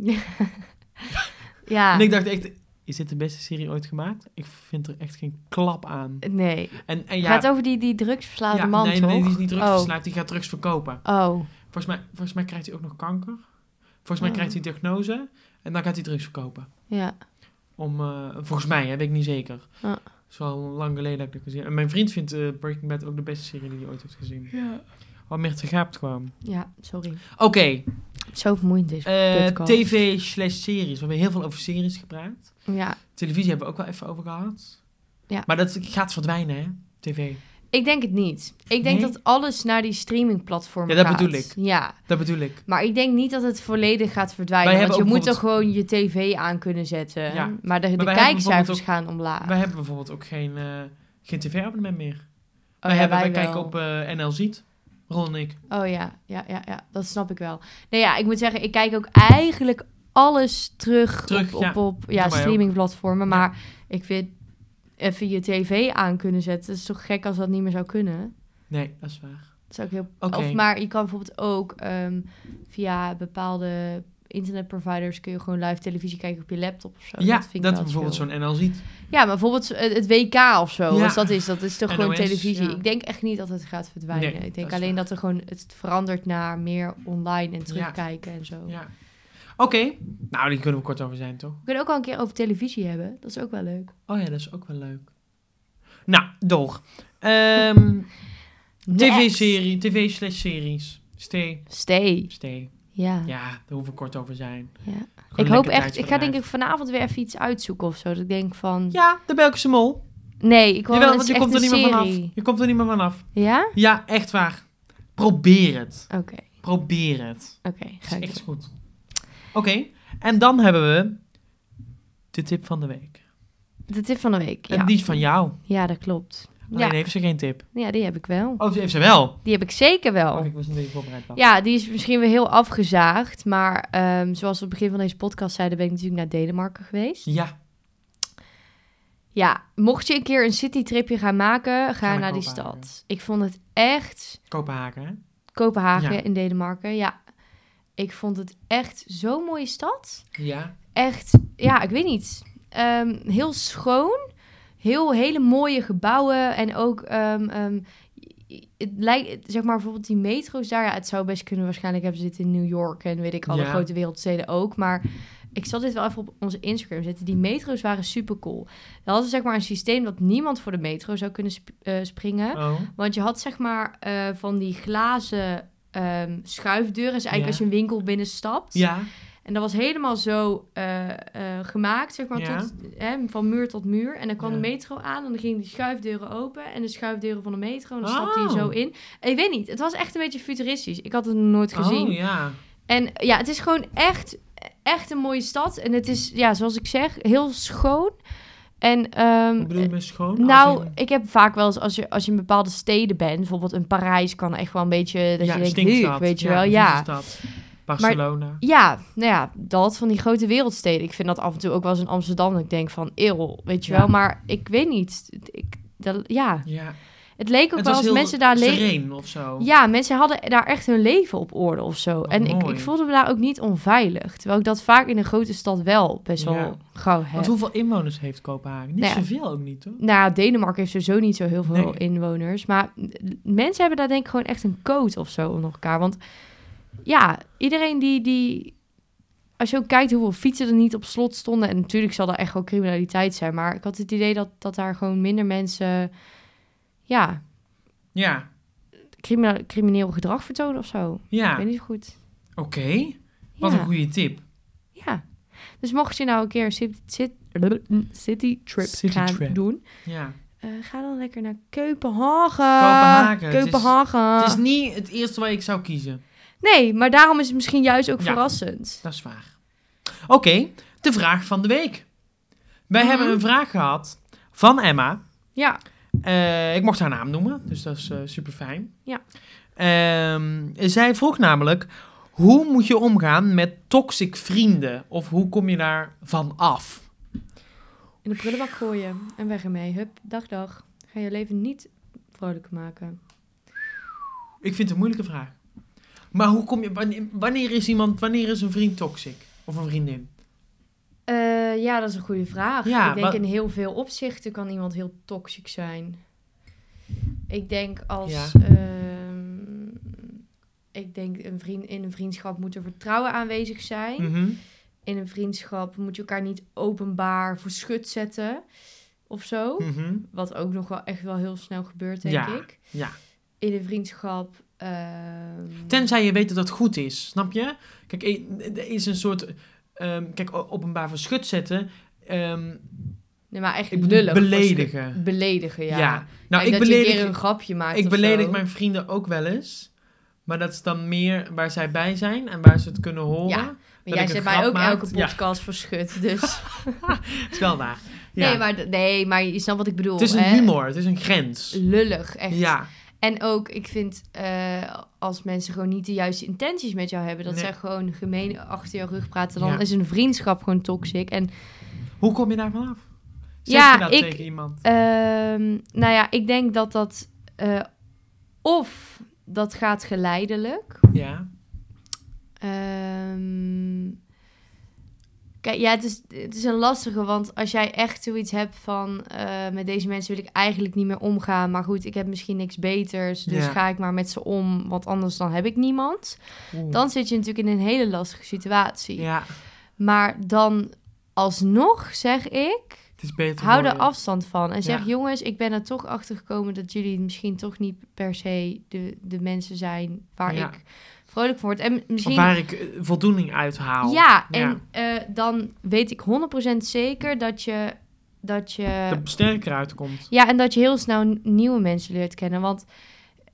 A: ja,
B: En ik dacht echt, is dit de beste serie ooit gemaakt? Ik vind er echt geen klap aan.
A: nee.
B: En, en
A: Het
B: ja,
A: gaat over die, die drugsverslaafde
B: ja,
A: man,
B: nee,
A: toch?
B: nee, die is niet drugs
A: oh.
B: verslaafd, die gaat drugs verkopen.
A: Oh,
B: Volgens mij, volgens mij krijgt hij ook nog kanker. Volgens mij
A: Oh.
B: krijgt hij diagnose en dan gaat hij drugs verkopen.
A: ja.
B: Om, eh, volgens mij, hè, weet ik niet zeker.
A: Ja.
B: Het is al lang geleden dat ik het gezien heb. En mijn vriend vindt eh, Breaking Bad ook de beste serie die hij ooit heeft gezien.
A: Ja.
B: Wat meer te gaapt kwam.
A: Ja, sorry.
B: Oké,
A: Zo vermoeiend is
B: eh,
A: podcast.
B: tv slash series. We hebben heel veel over series gepraat.
A: Ja,
B: Televisie hebben we ook wel even over gehad.
A: Ja.
B: Maar dat gaat verdwijnen, hè? TV.
A: ik denk het niet. Ik denk
B: Nee?
A: dat alles naar die streamingplatformen
B: Ja, dat
A: gaat.
B: bedoel ik.
A: Ja,
B: Dat bedoel ik.
A: maar ik denk niet dat het volledig gaat verdwijnen.
B: Wij
A: want je
B: hebben ook
A: moet er gewoon je tv aan kunnen zetten.
B: Ja.
A: Maar de, de
B: wij hebben
A: kijkcijfers
B: bijvoorbeeld ook-
A: gaan omlaag.
B: Wij hebben bijvoorbeeld ook geen, eh, geen tv-abonnement meer.
A: Oh,
B: wij
A: ja,
B: hebben,
A: wij
B: wij kijken
A: wel.
B: op eh, NL Ziet. Ron en ik.
A: Oh ja, ja, ja, ja, dat snap ik wel. Nee, ja, ik moet zeggen, ik kijk ook eigenlijk alles terug,
B: Terug,
A: op,
B: ja.
A: op, op
B: wij
A: ja,
B: ook.
A: streamingplatformen. Maar ik vind even je tv aan kunnen zetten, dat is toch gek als dat niet meer zou kunnen?
B: Nee, dat is waar.
A: Dat is ook heel...
B: Oké.
A: Of, maar je kan bijvoorbeeld ook ehm, via bepaalde internetproviders kun je gewoon live televisie kijken op je laptop of zo.
B: ja,
A: vind ik
B: dat
A: wel
B: bijvoorbeeld
A: chill.
B: zo'n NL Ziet.
A: Ja, maar bijvoorbeeld het het WK of zo,
B: Ja.
A: als dat is, dat is toch gewoon
B: NOS,
A: televisie.
B: ja.
A: Ik denk echt niet dat het gaat verdwijnen.
B: Nee,
A: ik
B: dat
A: denk
B: is
A: alleen dat er gewoon het verandert naar meer online en terugkijken en zo.
B: Ja. Oké. Nou, die kunnen we kort over zijn, toch?
A: We kunnen ook al een keer over televisie hebben. Dat is ook wel leuk.
B: Oh ja, dat is ook wel leuk. Nou, door. Ehm, TV-serie, TV slash series. Stay.
A: Stay.
B: Stay.
A: Ja.
B: Ja, daar hoeven we kort over zijn.
A: Ja.
B: Gewoon
A: Ik hoop echt,
B: lekker
A: ik ga
B: tijdsverdrijf.
A: denk ik vanavond weer even iets uitzoeken of zo. Dat ik denk van,
B: Ja, de Belgische mol.
A: nee, ik wil
B: Jawel,
A: het
B: want
A: is
B: je
A: echt
B: komt er
A: een
B: niet meer vanaf.
A: serie.
B: Je komt er niet meer vanaf.
A: Ja?
B: Ja, echt waar. Probeer het.
A: Oké,
B: Probeer het.
A: oké.
B: Het
A: ga
B: is
A: ik
B: Dus echt
A: doen.
B: goed. Oké, en dan hebben we de tip van de week.
A: De tip van de week, ja.
B: En die is van Ah, jou.
A: Ja, dat klopt.
B: Alleen
A: Ja.
B: heeft ze geen tip.
A: ja, die heb ik wel.
B: Oh, ze heeft ze wel.
A: Die heb ik zeker wel.
B: Oh, ik was niet even voorbereid. was.
A: Ja, die is misschien weer heel afgezaagd. Maar ehm, zoals we op het begin van deze podcast zeiden, ben ik natuurlijk naar Denemarken geweest.
B: Ja,
A: Ja, mocht je een keer een citytripje gaan maken, ga
B: naar
A: naar die
B: Kopenhagen.
A: stad. Ik vond het echt
B: Kopenhagen, hè?
A: Kopenhagen
B: Ja.
A: in Denemarken. Ja, ik vond het echt zo'n mooie stad.
B: Ja.
A: Echt, ja, ik weet niet. Ehm, heel schoon. Heel hele mooie gebouwen. En ook, ehm, ehm, het lijkt, zeg maar bijvoorbeeld die metro's daar. Ja, het zou best kunnen. Waarschijnlijk hebben ze dit in New York en weet ik alle
B: Ja.
A: grote wereldsteden ook. Maar ik zal dit wel even op onze Instagram zetten. Die metro's waren super cool. We hadden zeg maar een systeem dat niemand voor de metro zou kunnen sp- eh, springen.
B: Oh.
A: Want je had zeg maar eh, van die glazen ehm, schuifdeuren. Dus eigenlijk
B: Ja.
A: als je een winkel binnenstapt.
B: Ja.
A: En dat was helemaal zo eh, eh, gemaakt, zeg maar,
B: Ja.
A: tot, hè, van muur tot muur. En dan kwam
B: Ja.
A: de metro aan en dan gingen die schuifdeuren open en de schuifdeuren van de metro. En dan stapte
B: Oh.
A: je zo in. En ik weet niet, het was echt een beetje futuristisch. Ik had het nog nooit gezien.
B: Oh, ja.
A: En ja, het is gewoon echt, echt een mooie stad. En het is, ja, zoals ik zeg, heel schoon. En ehm,
B: Wat bedoel je met schoon? Als
A: nou,
B: in-
A: ik heb vaak wel eens als je, als je in bepaalde steden bent, bijvoorbeeld in Parijs, kan echt wel een beetje dat je denkt,
B: stinkstad.
A: "Huuk", weet je wel, ja.
B: vieze stad. Barcelona.
A: Ja, nou ja, dat van die grote wereldsteden. Ik vind dat af en toe ook wel eens in Amsterdam. dat Ik denk van, eeuw, weet je
B: Ja.
A: wel. Maar ik weet niet. Ik, dat, ja,
B: ja.
A: het leek ook wel
B: Het was
A: als
B: heel
A: mensen daar leven...
B: sereen of zo.
A: Ja, mensen hadden daar echt hun leven op orde of zo. en ik,
B: mooi.
A: ik voelde me daar ook niet onveilig. Terwijl ik dat vaak in een grote stad wel best wel
B: Ja.
A: gauw heb.
B: Want hoeveel inwoners heeft Kopenhagen? Niet
A: Nou ja.
B: zoveel ook niet, toch?
A: Nou, ja, Denemarken heeft sowieso niet zo heel veel
B: Nee.
A: inwoners. Maar n- mensen hebben daar denk ik gewoon echt een code of zo onder elkaar. Want ja, iedereen die... die als je ook kijkt hoeveel fietsen er niet op slot stonden... en natuurlijk zal daar echt wel criminaliteit zijn... maar ik had het idee dat, dat daar gewoon minder mensen... ja,
B: Ja.
A: crimina- crimineel gedrag vertonen of zo. Ik
B: Ja.
A: weet
B: Oké.
A: niet zo goed.
B: Wat
A: ja.
B: een goede tip.
A: ja. Dus mocht je nou een keer een city, city trip
B: City
A: gaan
B: trip.
A: doen...
B: Ja.
A: Eh, ga dan lekker naar Kopenhagen.
B: Kopenhagen, het is-
A: Kopenhagen.
B: Het is niet het eerste wat ik zou kiezen.
A: Nee, maar daarom is het misschien juist ook
B: Ja.
A: verrassend.
B: Dat is
A: Mhm.
B: waar. Oké, de vraag van de week. Wij hebben een vraag gehad van Emma.
A: Ja,
B: Eh, ik mocht haar naam noemen, dus dat is super fijn.
A: Ja.
B: zij vroeg namelijk: hoe moet je omgaan met toxic vrienden? Of hoe kom je daar van af?
A: in de prullenbak gooien en weg ermee. Hup, dag dag. Ga je leven niet vrolijk maken.
B: Ik vind het een moeilijke vraag. Maar hoe kom je, wanneer, wanneer is iemand, wanneer is een vriend toxic? Of een vriendin?
A: Eh, ja, dat is een goede vraag.
B: Ja,
A: ik denk
B: maar-
A: in heel veel opzichten kan iemand heel toxisch zijn. Ik denk als...
B: Ja.
A: ehm, ik denk een vriend, in een vriendschap moet er vertrouwen aanwezig zijn.
B: Mhm.
A: In een vriendschap moet je elkaar niet openbaar voor schut zetten of zo.
B: Mhm.
A: Wat ook nog wel echt wel heel snel gebeurt, denk
B: Ja,
A: ik.
B: ja.
A: In een vriendschap... ehm,
B: Tenzij je weet dat dat goed is, snap je? Kijk, e- er is een soort, ehm, kijk, o- openbaar verschut zetten. ehm,
A: Nee, maar echt
B: Ik bedoel,
A: lullig.
B: beledigen.
A: Voor- Beledigen, ja.
B: ja. Nou,
A: en
B: ik
A: dat je een
B: beledig,
A: keer een grapje maakt
B: ik
A: of
B: beledig
A: zo.
B: mijn vrienden ook wel eens. Maar dat is dan meer waar zij bij zijn en waar ze het kunnen horen.
A: Ja.
B: dat
A: Maar jij
B: ik
A: zet
B: een
A: mij
B: grap
A: ook
B: maak.
A: elke
B: Ja.
A: podcast verschut, dus...
B: Is wel waar. Ja.
A: nee, maar, d- nee, maar je snapt wat ik bedoel.
B: het is een
A: hè?
B: humor, het is een grens.
A: Lullig, echt.
B: Ja,
A: En ook, ik vind, eh, als mensen gewoon niet de juiste intenties met jou hebben... dat
B: Nee.
A: zij gewoon gemeen achter jouw rug praten... dan
B: Ja.
A: is een vriendschap gewoon toxic. En
B: hoe kom je daar vanaf? Zeg
A: Ja,
B: je dat
A: ik-
B: tegen iemand?
A: Ehm, nou ja, ik denk dat dat... eh, of dat gaat geleidelijk.
B: Ja.
A: Ehm, kijk, ja, het is, het is een lastige, want als jij echt zoiets hebt van... eh, met deze mensen wil ik eigenlijk niet meer omgaan... maar goed, ik heb misschien niks beters... dus
B: Ja.
A: ga ik maar met ze om, want anders dan heb ik niemand.
B: Oeh.
A: Dan zit je natuurlijk in een hele lastige situatie.
B: Ja,
A: Maar dan alsnog zeg ik...
B: het is beter
A: Hou
B: voor
A: er
B: je.
A: afstand van. En zeg,
B: Ja.
A: jongens, ik ben er toch achter gekomen dat jullie misschien toch niet per se de, de mensen zijn waar
B: Ja.
A: ik vrolijk van word. En
B: Of
A: misschien.
B: waar ik eh, voldoening uit haal.
A: Ja, en
B: Ja.
A: eh, dan weet ik 100% zeker dat je. Dat je
B: Dat sterker uitkomt.
A: Ja, en dat je heel snel n- nieuwe mensen leert kennen. Want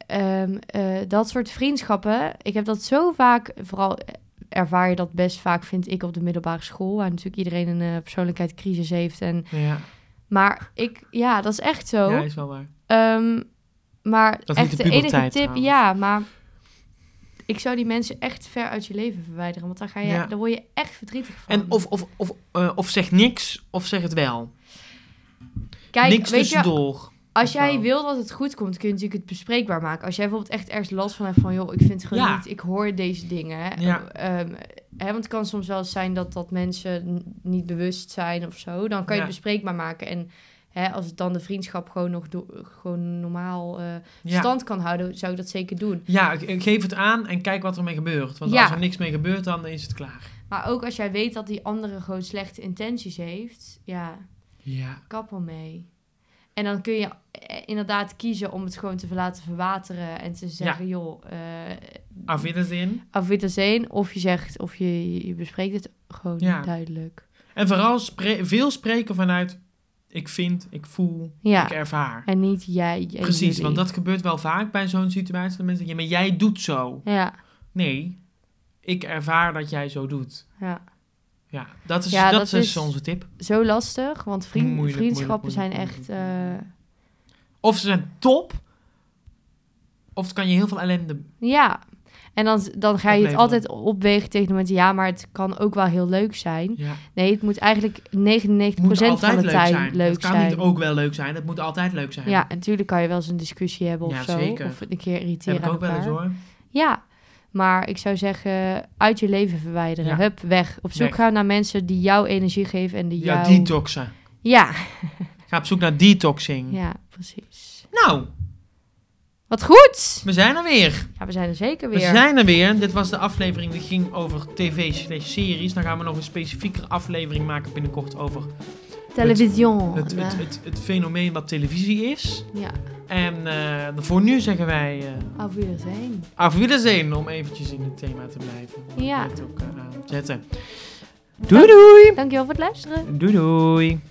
A: ehm, eh, dat soort vriendschappen, ik heb dat zo vaak, vooral eh, ervaar je dat best vaak, vind ik, op de middelbare school. Waar natuurlijk iedereen een eh, persoonlijkheidscrisis heeft. En,
B: Ja,
A: maar ik, ja, dat is echt zo.
B: ja is wel waar.
A: Ehm, maar
B: Dat is
A: echt
B: niet
A: de,
B: de
A: enige tip,
B: puberteit trouwens.
A: ja, maar ik zou die mensen echt ver uit je leven verwijderen, want daar, ga je,
B: Ja.
A: daar word je echt verdrietig van.
B: En of, of, of, eh, of zeg niks, of zeg het wel.
A: Kijk,
B: niks
A: weet je,
B: tussendoor.
A: als jij
B: wel.
A: wil dat het goed komt, kun je natuurlijk het bespreekbaar maken. Als jij bijvoorbeeld echt ergens last van hebt van, joh, ik vind het gewoon
B: Ja.
A: niet, ik hoor deze dingen.
B: Ja.
A: Ehm, hè, want het kan soms wel eens zijn dat, dat mensen n- niet bewust zijn of zo. Dan kan je
B: Ja.
A: het bespreekbaar maken. En hè, als het dan de vriendschap gewoon nog do- gewoon normaal eh,
B: Ja.
A: stand kan houden, zou ik dat zeker doen.
B: ja, ik- ik geef het aan en kijk wat ermee gebeurt. Want
A: Ja.
B: als er niks mee gebeurt, dan is het klaar.
A: Maar ook als jij weet dat die andere gewoon slechte intenties heeft, ja,
B: Ja.
A: kappel mee. En dan kun je eh, inderdaad kiezen om het gewoon te laten verwateren en te zeggen, joh, eh
B: Af in.
A: auf Wiedersehen. Of je zegt, of je, je bespreekt het gewoon
B: Ja.
A: duidelijk.
B: En vooral spre- veel spreken vanuit ik vind, ik voel,
A: Ja,
B: ik ervaar.
A: en niet jij. en
B: Precies,
A: jullie.
B: want dat gebeurt wel vaak bij zo'n situatie. Dat mensen zeggen, ja, maar jij doet zo.
A: Ja,
B: Nee, ik ervaar dat jij zo doet.
A: ja.
B: Ja, dat is,
A: Ja,
B: dat
A: dat
B: is,
A: is-
B: onze tip.
A: Zo lastig, want vriend,
B: Moeilijk,
A: vriendschappen
B: moeilijk,
A: zijn
B: moeilijk,
A: echt... eh,
B: Of ze zijn top, of het kan je heel veel ellende...
A: eh, ja, en dan, dan ga je het
B: Opleveren.
A: altijd opwegen tegen de mensen, ja, maar het kan ook wel heel leuk zijn.
B: Ja.
A: Nee, het moet eigenlijk 99%
B: Het moet
A: van
B: altijd
A: de
B: leuk
A: tijd
B: zijn.
A: leuk
B: het kan
A: zijn.
B: niet ook wel leuk zijn, het moet altijd leuk zijn.
A: Ja, en natuurlijk kan je wel eens een discussie hebben of
B: Ja,
A: zo.
B: zeker.
A: Of een keer
B: dat
A: irriteren
B: heb ik ook
A: aan
B: wel eens
A: elkaar.
B: hoor.
A: Ja, maar ik zou zeggen, uit je leven verwijderen.
B: Ja.
A: Hup, weg. Op zoek
B: Weg.
A: gaan naar mensen die jou energie geven en die
B: Ja,
A: jou...
B: detoxen.
A: Ja,
B: Ga op zoek naar detoxing.
A: ja, precies.
B: Nou,
A: Wat goed!
B: we zijn er weer.
A: Ja, we zijn er zeker
B: We
A: weer.
B: zijn er weer. Dit was de aflevering die ging over tv-series. Dan gaan we nog een specifiekere aflevering maken binnenkort over
A: Television.
B: het, het,
A: Ja.
B: het, het fenomeen wat televisie is.
A: ja,
B: En eh, voor nu zeggen wij eh
A: af wie er zijn.
B: auf Wiedersehen om eventjes in het thema te blijven.
A: Ja.
B: Dat ook eh, aan te zetten. Doei doei!
A: Dankjewel voor het luisteren.
B: Doei doei!